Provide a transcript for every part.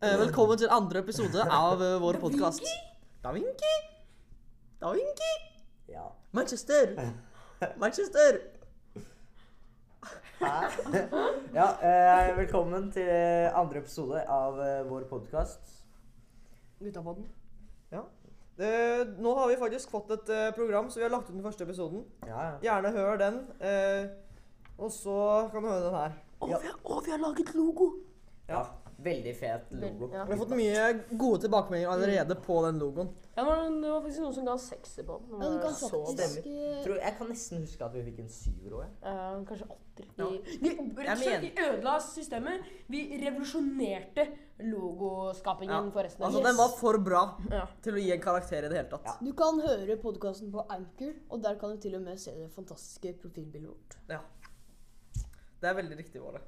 Eh, Velkommen til andre episode av eh, vår podkast. Da Vinci! Da Vinci! Ja. Manchester! Manchester! ja eh, velkommen til andre episode av eh, vår podkast. Gutta på den. Ja. Eh, nå har vi faktisk fått et eh, program, så vi har lagt ut den første episoden. Ja, ja. Gjerne hør den. eh, og så kan du høre den her. Å, vi har laget logo! ja. Veldig fet logo. Ja. Vi har fått mye gode tilbakemeldinger allerede på den logoen. Ja, men det var faktisk noen som ga sekser på den. Ja, du kan Eh, Så bra. faktisk Tror, jeg kan nesten huske at vi fikk en syver òg. Eh, kanskje åtter. Ja. Vi, vi, rett og slett, vi ødela systemet. Vi revolusjonerte logoskapingen Ja, for resten av Altså, Den var for bra Ja. til å gi en karakter i det hele tatt. eh, Du kan høre podkasten på Anchor, og der kan du til og med se det fantastiske profilbildet vårt. Ja. Det er veldig riktig, Våle.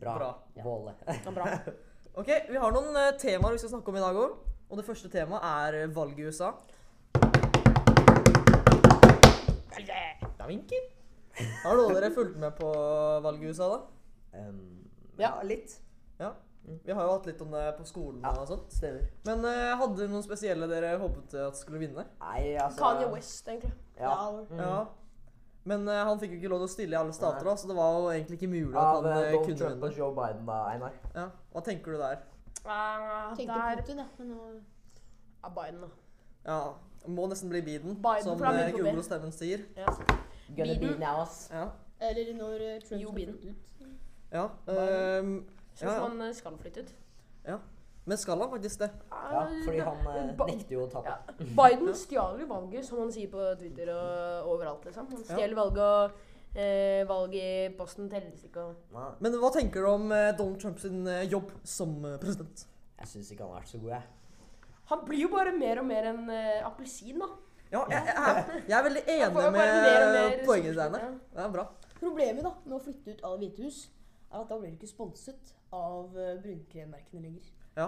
Bra. Bra. Våle. Ja, bra. Ok, Vi har noen eh, temaer vi skal snakke om i dag òg. Og det første temaet er eh, valget i USA. Da vinker. Har noen av dere fulgt med på valget i USA, da? Um, ja, Ja. litt. Ja. Vi har jo hatt litt om det på skolen Ja. og sånt. Stemmer. Men eh, hadde dere noen spesielle dere håpet eh, at skulle vinne? Nei, altså Kanye West, egentlig. Ja. Mm. Ja. Ja. Men eh, han fikk jo ikke lov til å stille i alle stater, da, så det var jo egentlig ikke mulig at Av han eh, eh, Donald kunne Trump vinne. og Joe Biden, da, Einar. Ja. Hva tenker du der? Eh, Tenkte på der Putin, ja, men nå er Biden, da. Ja, Må nesten bli Biden, Biden, som for han eh, begynte på B. Google-stemmen sier. Ja. Gonna be Biden. now, ass. Ja. Eller når eh, Trump Joe skal Biden. flytte ut. ja. ehm, Syns Ja, ja. han eh, skal flytte ut. Men skal han faktisk det? Ja, fordi han eh, Ah, Ba- nekter jo å tape. Ja. Eh, Biden stjal jo valget, som han sier på Twitter og overalt, liksom. Han stjal valget og eh, valget i Boston telles ikke og Nei, Men hva tenker du om eh, Donald Trumps jobb som eh, president? Jeg syns ikke han har vært så god, jeg. Han blir jo bare mer og mer en eh, appelsin, da. Ja, jeg, jeg, er- jeg er veldig Han får enig jo bare mer og med mer poenget ressurser, dine. ja. Det er bra. Problemet da, med å flytte ut av Det hvite hus, er at da blir du ikke sponset av eh, brunkremmerkene lenger. Ja.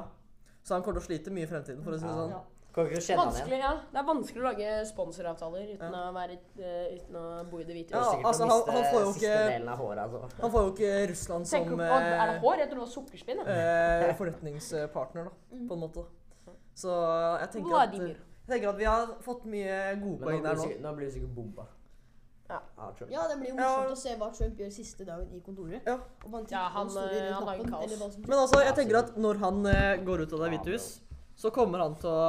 Så han kommer til å slite mye i fremtiden, for å si det Ja. sånn. Ja. Kommer ikke til å kjenne han igjen. Vanskelig, ja. Det er vanskelig å lage sponsoravtaler uten, å, være, eh, uten å bo i Det hvite Ja, hus. Sikkert altså, å han- miste han får jo siste ikke- delen av håret, altså. Han får jo ikke Russland Tenker som du på- eh, Er det hår? Jeg tror det var sukkerspinn. Ja. eh, forretningspartner, da, Mm. på en måte. Så eh, jeg tenker at, Vladimir. jeg tenker at vi har fått mye gode Men poeng nå blir der du nå. sikkert, nå blir du sikkert bomba. Ja. Av Trump. Ja, det blir jo Ja. morsomt å se hva Trump gjør siste dagen i kontoret. Ja. Om han titter Ja, på den han, store eh, røde han lager knappen, kaos. eller hva som Men altså, jeg tenker at når han eh, går ut av Det hvite hus, så kommer han til å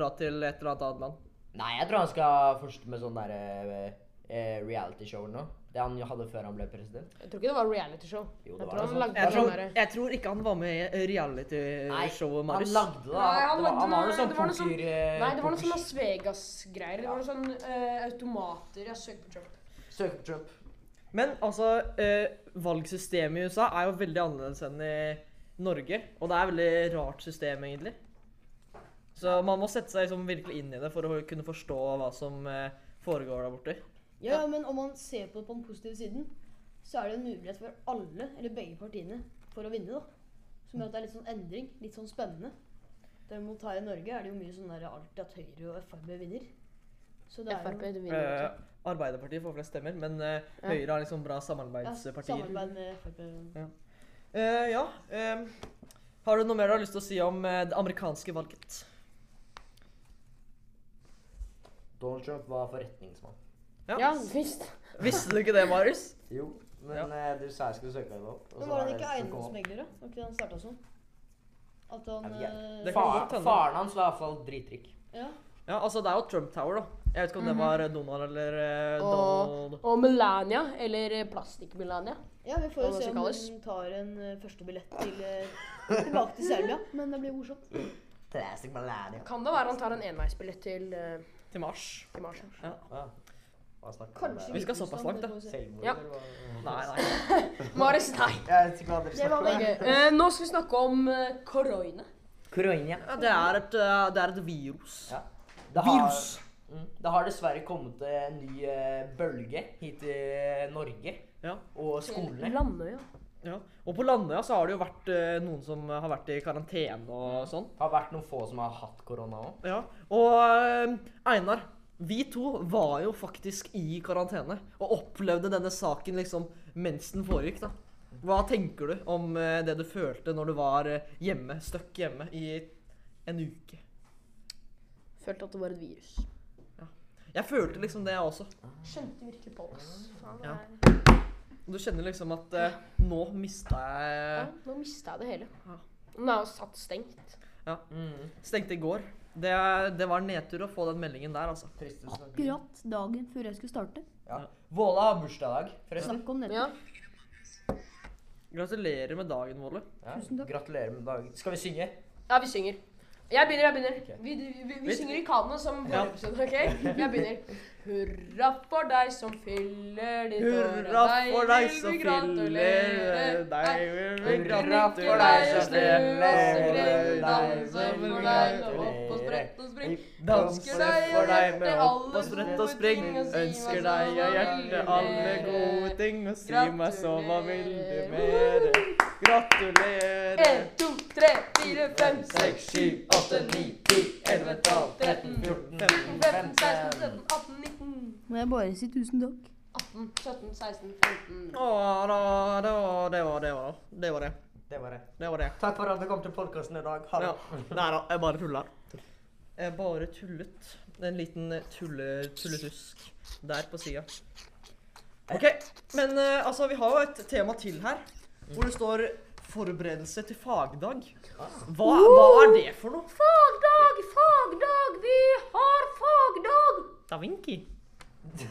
dra til et eller annet annet land. Nei, jeg tror han skal fortsette med sånn derre eh, realityshow eller noe. Det han jo hadde før han ble president. Jeg tror ikke det var realityshow. Jo, Jeg det var tror det han sånn. lagde Jeg tror, sånn derre- jeg tror ikke han var med i reality-showet, han Marius. lagde det. Nei, han Han, det var, han lagde var noe- noe sånn det var noe sånn- poker... eh, Nei, det var noe sånn poker- Las Vegas-greier. Det Ja. var noe sånn eh, automater. Jeg søker på Trump. Søk på Trump. Men altså, eh, valgsystemet i USA er jo veldig annerledes enn i Norge. Og det er et veldig rart system, egentlig. Så man må sette seg liksom virkelig inn i det for å kunne forstå hva som eh, foregår der borte. Ja, ja, men om man ser på det på den positive siden, så er det en mulighet for alle, eller begge partiene, for å vinne, da. Som gjør at det er litt sånn endring, litt sånn spennende. Derimot her i Norge er det jo mye sånn der alltid at Høyre og Frp vinner. Så det er FRP jo vinner Eh, også. Arbeiderpartiet får flest stemmer, men eh, Ja. Høyre har liksom bra ja, samarbeidspartier. samarbeid med Frp. Eh, ja. ehm, har du noe mer du har lyst til å si om eh, det amerikanske valget? Donald Trump var forretningsmann. Ja, visst. Visste du ikke det, Marius? Jo, men Ja. eh, du sa jeg skulle søke deg opp. og så Men var det han ikke som kom opp. eiendomsmegler, da? Var ikke det han starta som? At han Jeg vet eh, Det kan godt Far, hende. faren hans var i hvert fall dritrik. Ja. Ja, altså det er jo Trump Tower, da. Jeg vet ikke om Mhm. det var Donald eller eh, Og- Donald Og Melania, eller eh, Plastikk-Melania. ja, vi får Hva jo se om kalles? hun tar en eh, første billett til, eh, tilbake til Serbia. Men det blir morsomt. Plastic Melania. Kan det være han tar en enveisbillett til, eh, til Mars. til Mars? ja? Ah, hva snakker vi om Kanskje Vi der? skal såpass langt, da. Hviterussland, det får vi se. Selvmord, Ja. eller hva? Nei, nei. Marius, nei. Jeg vet ikke hva dere Det var snakker om. veldig- Ok, eh, nå skal vi snakke om eh, korona. Kroania. Ja, det, er et, eh, det er et virus. Ja. Det har- Virus! Mm. Det har dessverre kommet en ny eh, bølge hit til Norge Ja, og skolene. Landøya. ja. Og på Landøya så har det jo vært eh, noen som har vært i karantene og sånn. Det har vært noen få som har hatt korona òg. Ja. Og eh, Einar, vi to var jo faktisk i karantene og opplevde denne saken liksom mens den foregikk, da. Hva tenker du om eh, det du følte når du var eh, hjemme, støkk hjemme, i en uke? Følte at det var et virus. Jeg følte liksom det, jeg også. Skjønte virkelig på oss. Faen, det Ja. er- Du kjenner liksom at eh, nå mista ja, jeg nå mista jeg det hele. Ja. Den er jo satt stengt. Mm. Stengte i går. Det, er- det var nedtur å få den meldingen der, altså. Tristeste saken. Akkurat dagen før jeg skulle starte. Ja. Våla har bursdag i dag, forresten. Snakk om nettet. Ja. Gratulerer med dagen, Volle. Ja. Tusen takk. Gratulerer med dagen. Skal vi synge? ja, vi synger. Jeg begynner, jeg begynner. Ok. Vi, vi, vi, vi Vet- synger i kano som Ja. vår episode, OK? Jeg begynner. Hurra for deg som fyller ditt år. av Hurra for deg vil som vi gratulere. fyller deg, vil vi Hurra for gratulere. deg som fyller Deg som for fyller deg med hopp og sprett og spring. Danser deg for deg hjerte med hopp alle og sprett og gode spring. ting, og si meg Ønsker så deg av hva hjertet vil alle dere. gode ting, og si meg så hva vil du Gratulerer. mere? Gratulerer. 1, 2, 3, 4, 5, 6, 6, 7, 8, 9, 10, 11, 12, 13, 14, 15, 15, 16, 17, 18, 19, Må jeg bare si tusen takk? 18, 17, 16, 15. Å, da, da, det var det. var det. Det var det. Det var det. Det var det. Takk for at du kom til podkasten i dag. Ha Ja. det. Nei da, jeg bare tulla. Jeg bare tullet. En liten tulle, tulletusk der på sida. OK. Men eh, altså, vi har jo et tema til her, hvor det står 'forberedelse til fagdag'. Hva, hva er det for noe? Fagdag, fagdag, vi har fagdag! Da Vinki. Ja.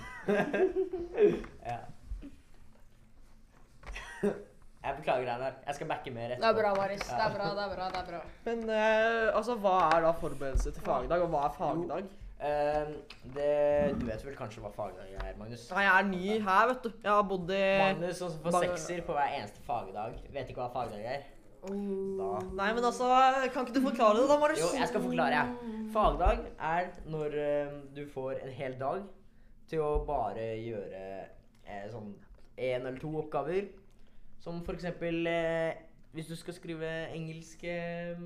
Jeg beklager, Einar. Jeg skal backe mer Det er bra, Maris. Det er bra, det er bra. det er bra. Men eh, altså, hva er da forberedelse til fagdag, og hva er fagdag? Ehm, det, du vet vel kanskje hva fagdag er, Magnus? Nei, jeg er ny her, vet du. Jeg har bodd i Magnus som får Mag- sekser på hver eneste fagdag. Vet ikke hva fagdag er. Da. Nei, men altså, kan ikke du forklare det, da, Marius? Jo, jeg skal forklare. jeg. Fagdag er når ehm, du får en hel dag til å bare gjøre eh, sånn én eller to oppgaver. Som for eksempel eh, hvis du skal skrive engelsk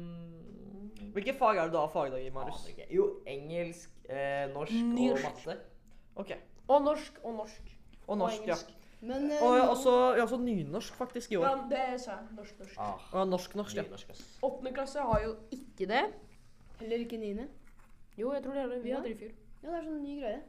ehm, Hvilke fag er det du har fagdag i, Marius? Aner ikke. Jo, engelsk, eh, norsk og Norsk. matte. Ok. Og norsk og norsk. Og norsk, ja. engelsk. Men eh, Og nå- også, ja, også nynorsk faktisk i Ja, år. det sa jeg. Norsk, norsk. Ah, Og norsk-norsk, ja. nynorsk, ass. Åttende klasse har jo ikke det. Heller ikke niende. Jo, jeg tror det er det. Vi Ja. hadde det i fjor. Ja, det er sånn ny greie.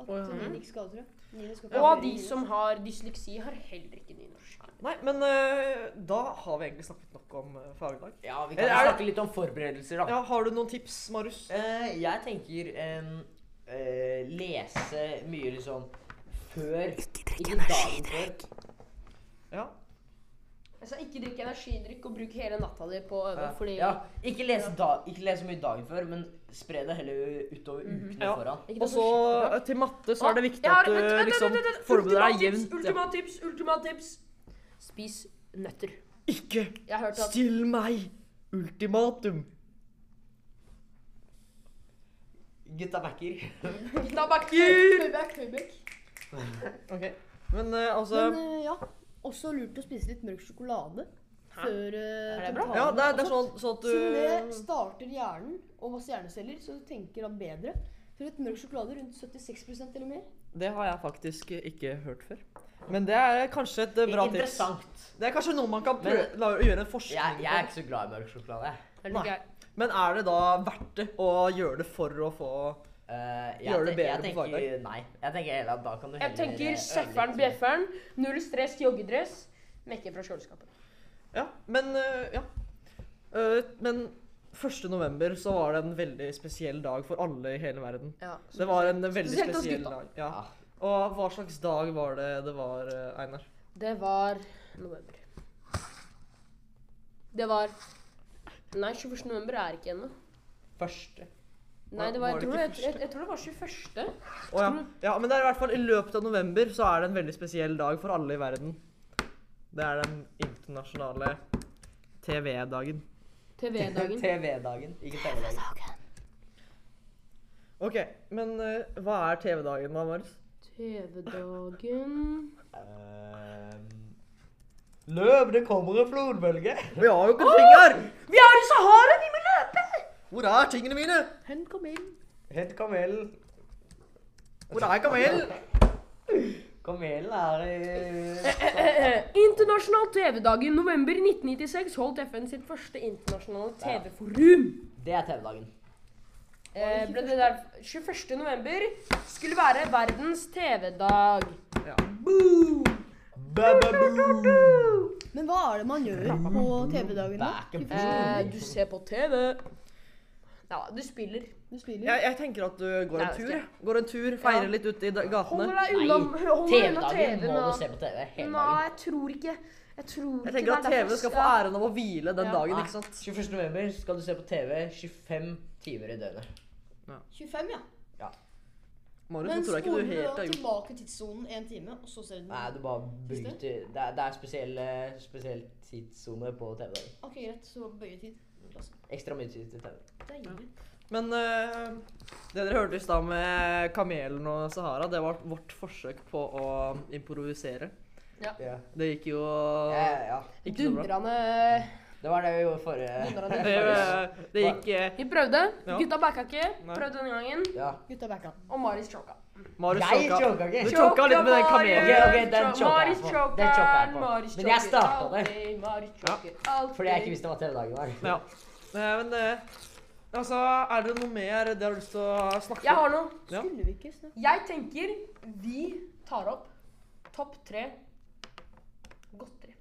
At eh, Å, ja. niende ikke skal, tror jeg. Niende skal ikke ha Og flere de niende. som har dysleksi, har heller ikke nynorsk. Nei, men eh, da har vi egentlig snakket nok om eh, fagdag. Ja, vi kan kan jo snakke snakke litt om forberedelser, da. Ja, har du noen tips, Marius? Eh, jeg tenker em, eh, lese mye liksom før Ikke drikk energidrikk. Ja. Altså, ikke drikk energidrikk og bruk hele natta di på å øve, fordi Ja, ikke lese, da, ikke lese mye dagen før, men spre det heller utover ukene Ja. foran. Ikke Og ta så skikkelig bra. eh, til matte så er det viktig Jeg har- at vent, du vent, liksom vent, vent, vent. forbereder deg Ultimat tips, jevnt. ja. Ultimat tips, ultimat tips! Spis nøtter. Ikke Jeg har hørt at still meg ultimatum. Gutta backer. Da back, payback, payback. Ok. Men eh, altså Men eh, ja, også lurt å spise litt mørk sjokolade før eh, Er det bra? tentamen Ja, det er, og det er sånt. sånn, sånn at Siden det du starter hjernen og masse hjerneceller, så tenker han bedre. For et mørk sjokolade rundt 76 eller mer. Det har jeg faktisk ikke hørt før. Men det er kanskje et eh, bra tips. Interessant. Det er kanskje noe man kan prøve, Men- la, gjøre en Jeg, forskning jeg er ikke så glad i mørk sjokolade. Er det Nei. greit? Men er det da verdt det å gjøre det for å få Eh, jeg, Gjør det te- jeg bedre på tenker, fagdag? Nei. Jeg tenker heller at da kan du heller Jeg tenker øve sjefferen, litt. bjefferen, null stress, joggedress, mekke fra kjøleskapet. Ja, men øh, Ja. Øh, men 1. november så var det en veldig spesiell dag for alle i hele verden. Det var en veldig Spesielt oss spesiell gutta. dag. Ja. Ja. Og hva slags dag var det det var, øh, Einar? Det var november. Det var Nei, 21. november er ikke ennå. Første. Nei, det Var var, jeg, det tror, ikke jeg, jeg, jeg tror det var 21. Å ja. ja. Men det er i hvert fall i løpet av november så er det en veldig spesiell dag for alle i verden. Det er den internasjonale TV-dagen. TV-dagen. TV-dagen. Ikke TV-dagen. OK, men øh, hva er TV-dagen da, Marius? TV-dagen Ehm, Løp, det kommer en flodbølge! Vi har jo ikke penger! Vi er i Sahara, vi må løpe! Hvor er tingene mine? Hen kom inn. Hent kamelen. Hvor er kamelen? Kamelen er eh, i Internasjonal TV-dag i november 1996 holdt FN sitt første internasjonale TV-forum. Det er TV-dagen. Eh, ble det der 21. november skulle være verdens TV-dag. Ja. Men hva er det man gjør på TV-dagen da? Back and Eh, du ser på TV. Ja, du spiller. Du spiller jo. Jeg, jeg tenker at du går Nei, en det tur. skal jeg. Går en tur, feirer Ja. litt ute i da- Hold gatene. deg Nei, unna hold deg unna TV-dagen TV-en. må du og- se på TV hele Nei, dagen. jeg tror ikke Jeg tror Jeg ikke tenker at det er derfor TV skal få jeg- æren av å hvile den Ja. dagen, Nei, ikke sant? 21. november skal du se på TV 25 timer i døgnet. 25, ja. Marius, nå Men tror jeg ikke spoler du du helt da har gjort tilbake tidssonen en time, og så ser du den? Nei, du bare bryter Det er, det er spesiell, eh, spesiell tidssone på TV-dagen. Ok, greit, så bøye tid. Klasse. Ekstra mye tid til TV. Det er givelig. Men eh, det dere hørte i stad med kamelen og Sahara, det var vårt forsøk på å improvisere. Ja. Det gikk jo Ja, ja. ikke så bra. Dundrende Det var det vi gjorde forrige Det, det gikk eh, Vi prøvde. Ja. Gutta backa ikke. Nei. Prøvde denne gangen. Ja. Gutta backa. Og Marius choka. Marius Jeg choka. choka Du ikke. choka litt med den Ok, kamelen. ok, den choker jeg Marius på. choker, Den choker jeg på. Marius Men jeg choker starta det. alltid, Marius Ja. choker alltid. Fordi jeg ikke visste hva TV-dagen var. Ja. Eh, Men eh, altså, er det noe mer dere har lyst til å snakke Jeg har noe. Ja. Skulle vi ikke snakke Jeg tenker vi tar opp topp tre godteri.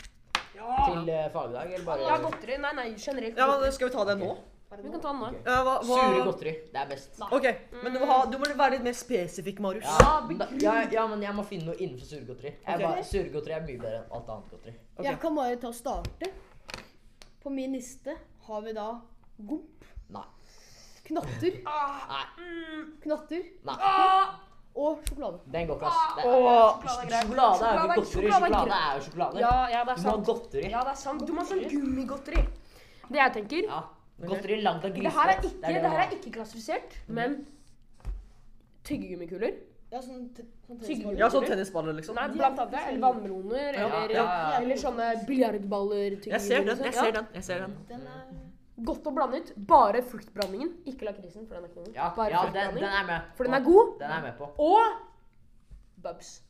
Til eh, fagdag, eller bare Ja, godteri. Nei, nei, generelt. Ja, men godteri. Skal vi ta det nå? Vi kan ta den nå. Ok. Ja, hva, hva? Sure godteri. Det er best. OK, men du må, ha, du må være litt mer spesifikk, Marius. Ja, begrunn. da- ja, ja, men jeg må finne noe innenfor sure godteri. Ok. Jeg bare, sure godteri er mye bedre enn alt annet godteri. Ok. Jeg kan bare ta og starte. På min liste har vi da gomp, Nei. knotter, Ah, Mm. Nei. knotter Nei. og sjokolade. Den går ikke, ass. Det er- Åh, Sjokolade er jo ikke godteri. Sjokolade er jo sjokolade. Ja, ja, det er Du må ha sant. godteri. Ja, det er sant. Du må ha sånn gummigodteri. Det jeg tenker Ja. Godteri lagd av Det her er grisefett. ikke, det her er ikke klassifisert, men tyggegummikuler. Ja, sånn, t- sånn Tygg- tennisball. ja, sånn tennisballer, liksom. Nei, blant annet det. Eller vannmeloner. Ja, Eller, ja, ja. eller sånne biljardballer. sånn. Jeg ser den, jeg ser den. jeg ser den. Den er Godt og blandet. Bare fruktblandingen. Ikke lakrisen, for den er ikke noe. Ja, Bare ja den, fruktblanding. den er med. For den på. er god. Den er med på. Og Bubs.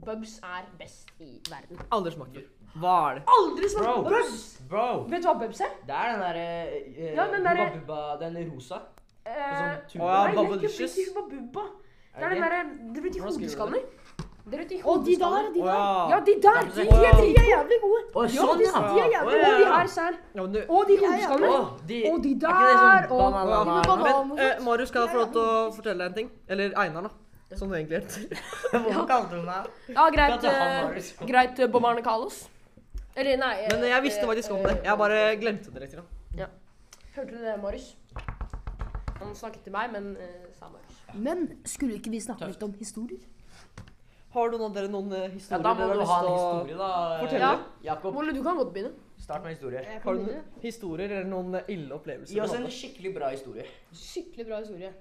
Bubs er best i verden. Aldri smaker. Hva er det? Aldri smakt Bro. Bubs! Bro. Vet du hva Bubs er? Det er den derre eh, Ja, den derre- Hubba Bubba, den rosa. Eh, Og sånn tube. Å, ja, nei, det Bubba er ikke Duchess. Bubba Hubba Bubba. Det er det den derre Dere vet de Hvordan skriver du hodeskanner? Dere vet de Å, de der, hodeskaller? de Å der. Ja, ja. de der! Ja, De, men- de er De er dritgode! jævlig gode. Å, Ja, sånn, de, ja. de er jævlig Å, ja. gode. Og de her sær. ja men du, Og de Ja, ja. hodeskallene. Å, de, Og de Er ikke det der, sånn og- banan- Ja, banan- Men eh, Marius skal jeg få lov til å fortelle deg en ting. Eller Einar, da. Som det egentlig heter. Hvorfor kalte du meg Ja, greit, Kalte han liksom- eh, Marius? greit eh, Bob Arne Carlos. Eller nei eh, Men jeg visste eh, faktisk om det. eh, Jeg bare glemte det liksom. litt. grann. Hørte du det, Marius? Han snakket til meg, men eh, sa Marius. Men skulle ikke vi snakke litt om historier? Har noen av dere noen eh, Ja, historier da må dere du har ha lyst en til å historie, da. eh, fortelle. Jakob, Molle, du kan godt begynne. start med en historie. Har Jeg kan du begynne. noen historier eller noen eh, ille opplevelser? Gi oss du en har hatt? skikkelig bra historie. Skikkelig bra historie.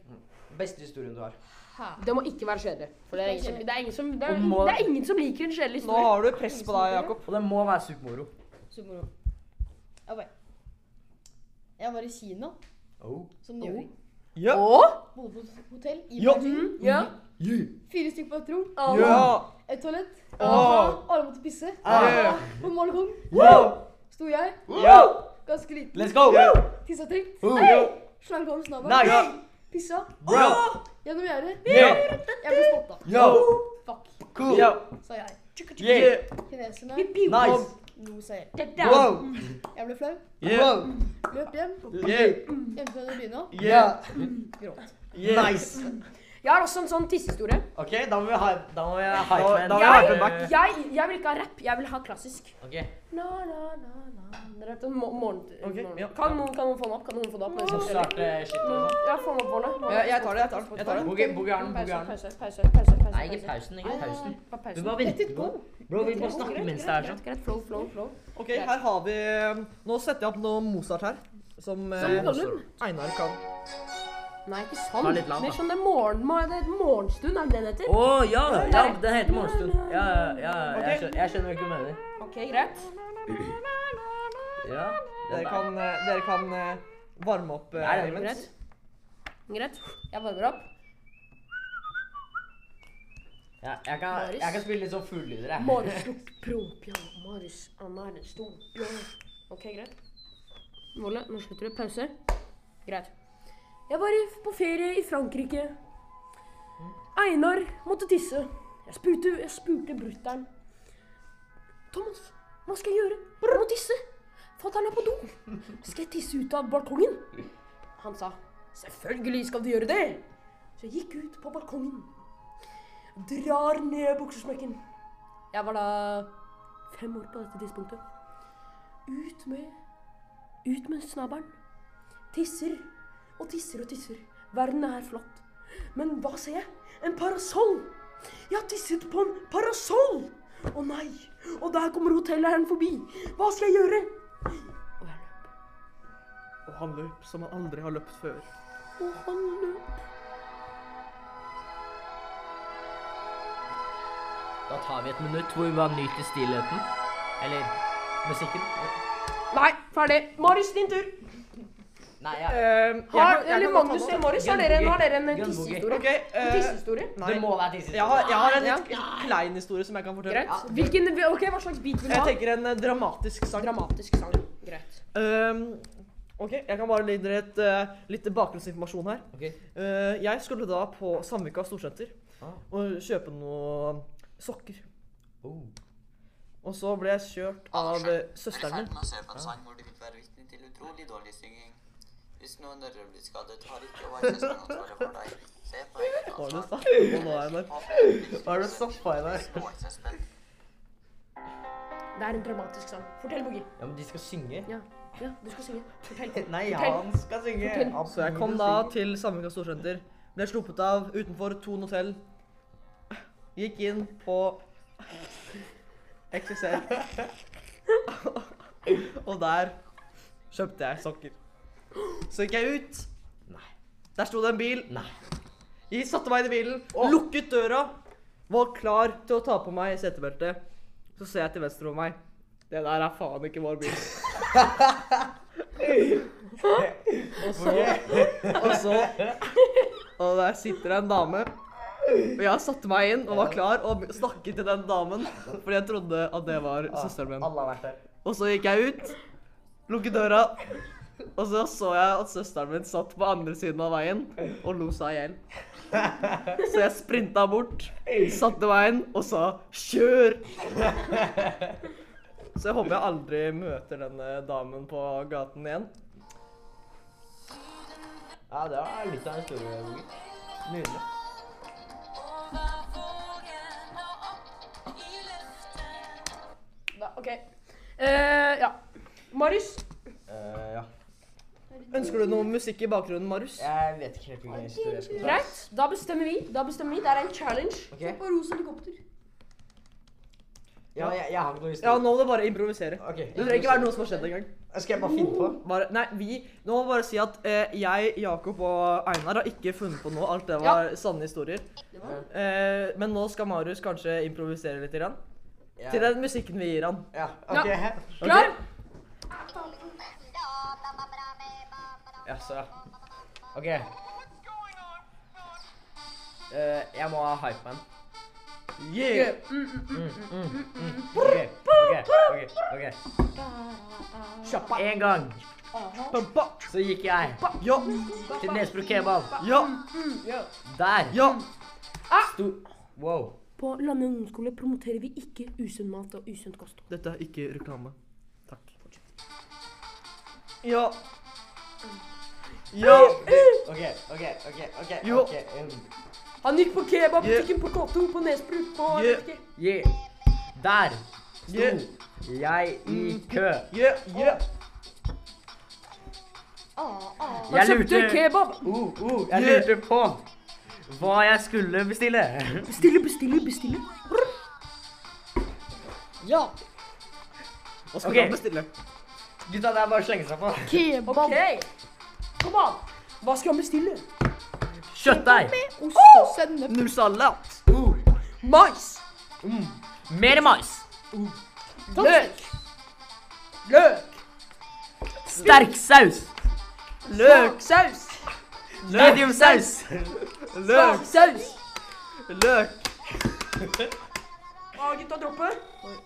Beste historien du har. Hæ? Det må ikke være kjedelig. For det er ingen som, det er ingen som, det er, Og må- det er ingen som liker en kjedelig Nå historie. har du press på deg, Jakob. Og den må være supermoro. Supermoro. Ok. Jeg var i Kina Oh. som niåring. Ja. Bodde på et hotell i Ja. Beijing. Ja. Fire stykker på et rom. Ja. Et toalett. Åh. Alle måtte pisse. Ja. På balkongen Wow. sto jeg, Ja. ganske liten, Let's go! tissa trengt. Oh. Slang om snabelen. Nice! Pissa Bro! gjennom gjerdet. Ja. Jeg ble spotta. Yo! Fuck, Cool! Ja. sa jeg. Yeah! Kineserne Nice! lo seg i hjel. Dette er- Wow! Jeg ble flau. Yeah. Wow! Løp hjem. Yeah! Hjemme fra byen av. Yeah! Gråt. Nice! Jeg har også en sånn tissehistorie. Ok, da må vi ha Da må vi ha hype Da- man. da må vi ha Eh, hype man. Jeg, jeg vil ikke ha rapp, jeg vil ha klassisk. Ok. La, la, la, la. Dere vet, mo- morgen, Ok, morgen. ja. Kan, noen, kan noen få den opp? Kan noen få den Så opp? Mens jeg- starte shit og sånn. Ja, få den opp, Morne. Ja, jeg tar det, jeg tar det, jeg tar det. Boogie- boogie arm, boogie Pause, arm. pause, pause, pause, pause. Nei, ikke pause. pausen. Ikke pausen. Bare Du pausen. bare Let venter it go. på Bro, vi må snakke Greit, mens det er greit, sånn. Greit, flow, flow, flow. Ok, her har vi eh, Nå setter jeg opp noe Mozart her. Som, eh, Gollum. Einar kan. Nei, ikke Ta sånn. litt lavt, Mer da. sånn det er morgen, må- det er morgenstund, er det det den heter? Å ja! ja! Den heter Morgenstund. Ja, ja, ja, jeg Ok. skjønner, jeg skjønner hva du mener. Ok, greit. Ja. Dere kan, eh, dere kan eh, varme opp eh, Det er det, imens. Greit. Greit. Jeg varmer opp. Ja, jeg, kan, Marius? jeg kan spille litt sånn fuglelyder, jeg. Marius slo propia. Marius han er en stor bjørn. Ok, greit. Molle, nå slutter du. Pause. Greit. Jeg var i- på ferie i Frankrike. Einar måtte tisse. Jeg spurte, jeg spurte brutter'n. Thomas, hva skal jeg gjøre? Jeg må tisse. Fatter'n er på do. Skal jeg tisse ut av balkongen? Han sa selvfølgelig skal du gjøre det. Så jeg gikk ut på balkongen. Drar ned buksesmekken. Jeg var da fem år på dette tidspunktet. Ut med Ut med snabberen. Tisser og tisser og tisser. Verden er flott. Men hva ser jeg? En parasoll! Jeg har tisset på en parasoll! Å nei! Og der kommer hotelleieren forbi. Hva skal jeg gjøre? Og jeg løp. Og han løp som han aldri har løpt før. Og han løp. Da tar vi et minutt hvor vi bare nyter stillheten. Eller musikken. Nei, ferdig. Marius, din tur. Nei, ja. Ehm, jeg Har, kan- jeg eller kan godt ta Magnus den. eller Marius, har dere, Gunvor. har dere en Gunvor. tissehistorie? OK. En eh, tissehistorie? nei. Det må være tissehistorie. Jeg har, jeg har en litt Ja. klein historie som jeg kan fortelle. Greit. Hvilken, ok, Hva slags bit vil du Jeg ha? tenker en eh, dramatisk sang. Dramatisk sang. Greit. Ehm, OK, jeg kan bare gi dere et, eh, litt bakgrunnsinformasjon her. Ok. Eh, jeg skulle da på Sandvika storsenter Ah. og kjøpe noen sokker. Oh. Og så ble jeg kjørt av eh, søsteren min. med å kjøpe en sang hvor du vil være vitne til utrolig dårlig synging. Hvis noen ører blir skadet, har ikke overkjøsken ansvaret for deg. Se på eget Hva var det du sa? ansvar. Å, nå er jeg der. Hva er det du stoppa i der? Overkjøsken. Det er en dramatisk sang. Fortell, Boogie. Ja, men de skal synge. Ja. ja, du skal synge. Fortell. Nei, Fortell. han skal synge. Fortell. Han Så jeg kom burde da synge. til Sandvika storsenter. Ble sluppet av utenfor Thon hotell. Gikk inn på XXL. Og der kjøpte jeg sokker. Så gikk jeg ut. Nei. Der sto det en bil. Nei. Jeg satte meg inn i bilen, Åh. lukket døra, var klar til å ta på meg setebeltet. Så ser jeg til venstre for meg. Det der er faen ikke vår bil. og så Og så Og der sitter det en dame. Og jeg satte meg inn og var klar og snakket til den damen fordi jeg trodde at det var Ah, søsteren min. Alle har vært der. Og så gikk jeg ut, lukket døra, og så så jeg at søsteren min satt på andre siden av veien og lo seg i hjel. Så jeg sprinta bort, satte meg inn og sa 'kjør'. Så jeg håper jeg aldri møter denne damen på gaten igjen. Ja, det var litt av en historie. Roger. Nydelig. Da, ok. Eh, ja. Marius. Eh, ja. Ønsker du noe musikk i bakgrunnen, Marius? Jeg vet ikke helt hvilken historie jeg skal ta. Greit. Da bestemmer vi. Da bestemmer vi. Det er en challenge. Ok? Og rosa helikopter. Ja, jeg, jeg har ikke noe Ja, historie. nå må du bare improvisere. Ok. Det trenger ikke være noe som har skjedd engang. Skal jeg bare finne på? Bare, nei, vi Nå må vi bare si at eh, jeg, Jakob og Einar har ikke funnet på noe. Alt det var sanne historier. Eh, men nå skal Marius kanskje improvisere litt. Grann, Ja. Til den musikken vi gir han. Ja, ok. Klar? Jaså. Ok. Eh, jeg må ha hypeman. Yeah. Mm, Ok, ok, ok. ok. Kjappa. En gang Pampa. så gikk jeg Ja, til Nesbru kebab. ja, Der ja. sto Wow. På Lande ungdomsskole promoterer vi ikke usunn mat og usunt kosthold. Dette er ikke reklame. Takk. Ja. Ja. Ok, ok, ok. ok, Jo. ok. um, Han gikk på kebabbutikken på K2 på Nesbru på Yeah. Røkke. yeah. Der Yeah. sto jeg i kø. Yeah, yeah. Ah, Han Jeg kjøpte lurte kebab. Uh, uh, jeg Yeah. lurte på hva jeg skulle bestille. Bestille, bestille, bestille. Ja. Hva skal Ok. han bestille? Gutta, det er bare å slenge seg på. Kebab. Ok. Kom an. Hva skal han bestille? Kjøttdeig. Ost og sennep. Null salat. Uh, Mais. mer mais. Løk. Løk. Sterk saus. Løk. Saus. Løk. saus. Løk. Saus. Løk. Å, gutta dropper.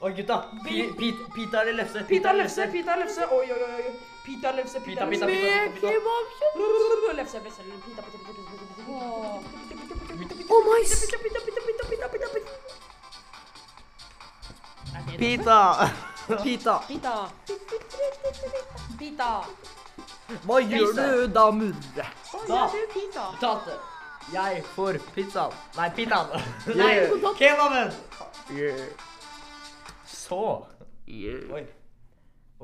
Oi, gutta. Pi- pi- Pita eller lefse? Pita lefse, pita lefse. Oi, oi, oi. oi. Pita lefse, pita Pita, pita, lefse. pita, pita, pita. Rrrr, Lefse, lefse, pita, pita, pita, pita, pita, pita. Oh, mais! Pita, pita, pita, pita, pita, pita, pita. Pita! Pita, Pita! Pita! hva gjør du da, murre? Da. du pita? Tate. Jeg får pizzaen. Nei, pitaen. Nei, kontakt. Kebaben. Så. Oi.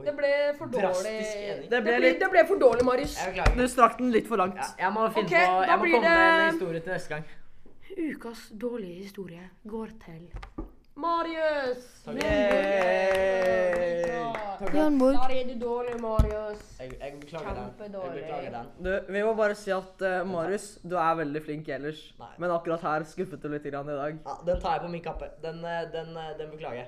Det ble for dårlig. Drastisk enig. Det Det ble ble, litt det ble for dårlig, Marius. Jeg beklager. Du strakk den litt for langt. Ja, jeg må finne Ok, på da Jeg må blir komme med en det- historie til neste gang. Ukas dårlige historie går til Marius! Takk. Yay! Der er du dårlig, Marius. Jeg, jeg beklager den. Jeg Kjempedårlig. beklager den. Du, vi må bare si at eh, Marius, du er veldig flink ellers. Nei. Men akkurat her skuffet du litt grann i dag. Ja, den tar jeg på min kappe. Den, eh, den, eh, den beklager jeg.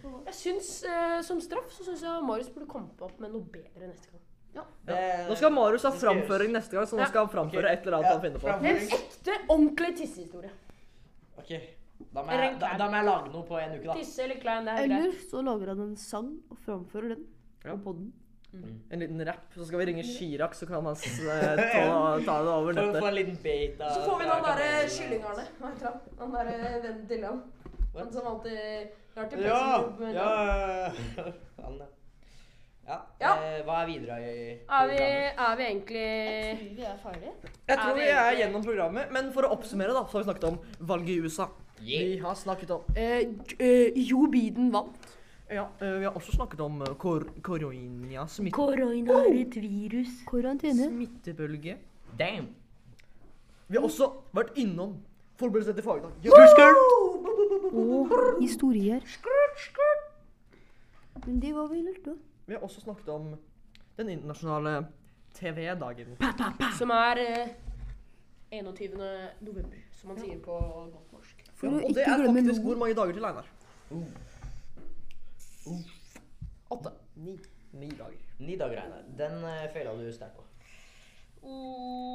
Jeg syns, eh, Som straff så syns jeg Marius burde komme opp med noe bedre neste gang. Eh, Nå skal Marius ha framføring neste gang, så nå Ja. skal han framføre et eller annet han finner på. En ekte, ordentlig tissehistorie. Ok, da må, jeg, da, da må jeg lage noe på en uke, da. Tisse eller klein, det er greit. Eller så lager han en sang og framfører den. Ja. Og podden. En liten rapp, så skal vi ringe Chirag, så kan han s- eh, ta, ta det over For å nettet. få en liten beta. Så får vi eh, den derre Kylling-Arne. Hva heter han? Han derre vennen til han. Han som alltid drar til Ja! Presseklubben med Ja! navn. Han, eh, Ja. Ja. eh, Hva er videre i i Er vi, programmet? er vi egentlig Tror vi er ferdige? Jeg tror vi er gjennom programmet, men for å oppsummere, da, så har vi snakket om valget i USA. Vi har snakket om Eh, J- eh, Joe Biden vant. Ja, eh, vi har også snakket om eh, kor korona, smitte, Korona er et virus. Karantene. smittebølge. Damn! Vi har også vært innom forberedelse til fagdag. Og historier. Men det var vel alt, da. Vi har også snakket om den internasjonale TV-dagen. Som er eh, 21. november, som man sier på godt norsk. Ja, For å og det ikke er glemme faktisk noe. hvor mange dager til, Einar? Oh. Åtte. Ni. Ni dager. Ni dager, Einar. Den eh, feila du sterkt på.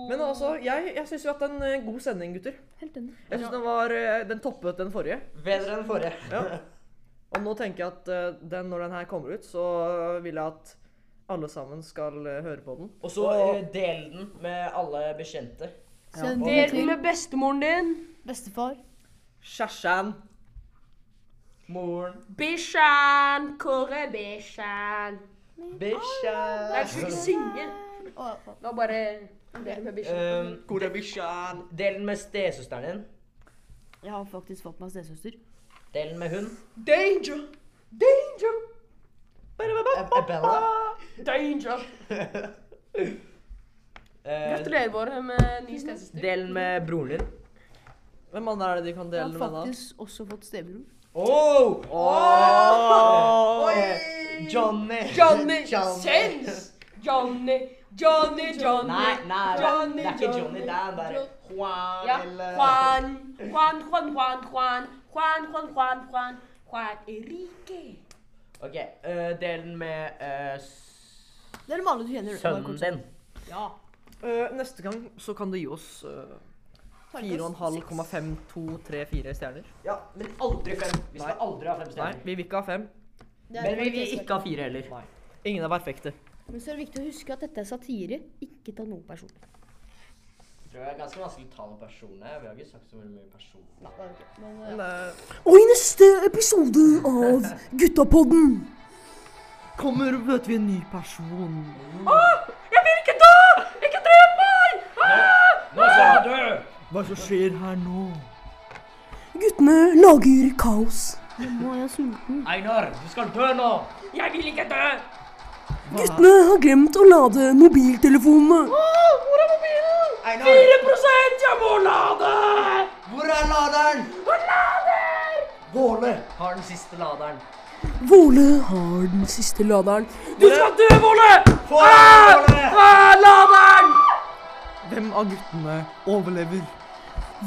Men altså, jeg, jeg syns jo at det er en eh, god sending, gutter. Helt enig. Jeg synes den var eh, Den toppet den forrige. Bedre enn forrige. Ja. Og nå tenker jeg at eh, den, når den her kommer ut, så vil jeg at alle sammen skal eh, høre på den. Og så eh, del den med alle bekjente. Send den Del den til med bestemoren din. bestefar. Kjersjan. Moren, Bishan, Kåre Bishan. bikkja Jeg skulle ikke synge. Og Det var bare det med Bishan. Um, Del den med stesøsteren din. jeg har faktisk fått meg stesøster. Del den med hun. Danger! Danger! Eh, eh, Bella. Danger! Eh, Gratulerer, Bård, med ny stesøster. del den med broren din. Hvem andre er det de kan dele Jeg har den med da? faktisk også fått stebror. Oh! Åh! Johnny. Johnny Sins! Johnny, Johnny, Johnny. Nei, nei, det er- det er ikke Johnny. Det er bare Jo- Juan Ja. eller Juan, Juan, Juan, Juan, Juan, Juan, Juan, Juan, Juan, Juan Enrique. Ok, eh, del den med eh, s- Det er de alle du kjenner. sønnen din. Ja. Eh, neste gang så kan du gi oss eh, 4,5,5234 stjerner. Ja, men aldri fem. Vi skal aldri ha fem Nei, stjerner. vi vil ikke ha fem. Men vi vil ikke ha fire heller. Ingen er perfekte. Men så er det viktig å huske at dette er satire. Ikke ta noen personer. Jeg tror jeg er ganske vanskelig å ta noen personer. eh. Vi har ikke sagt så veldig mye personer. Men, eh, Og i neste episode av Guttapodden kommer møter vi en ny person. Nå sa du! Hva er det som skjer her nå? Guttene lager kaos. Nå er jeg sulten. Einar, du skal dø nå! Jeg vil ikke dø! Guttene har glemt å lade mobiltelefonene. Einar, 1 jeg må lade! hvor er laderen? Hvor lader? Våle har den siste laderen. Våle har den siste laderen. Du skal dø, Våle! Få den, Våle! Ah, laderen! Hvem av guttene overlever?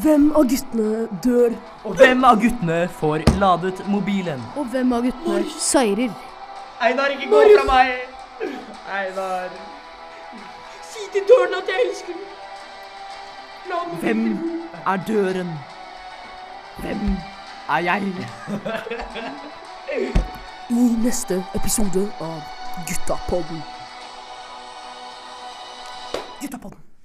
Hvem av guttene dør? Og hvem av guttene får ladet mobilen? Og hvem av guttene seirer? Einar, ikke gå fra meg! Einar. Si til døren at jeg elsker den. La meg Hvem er døren? Hvem Ai, ai. I neste episode av Guttapodden. Guttapodden.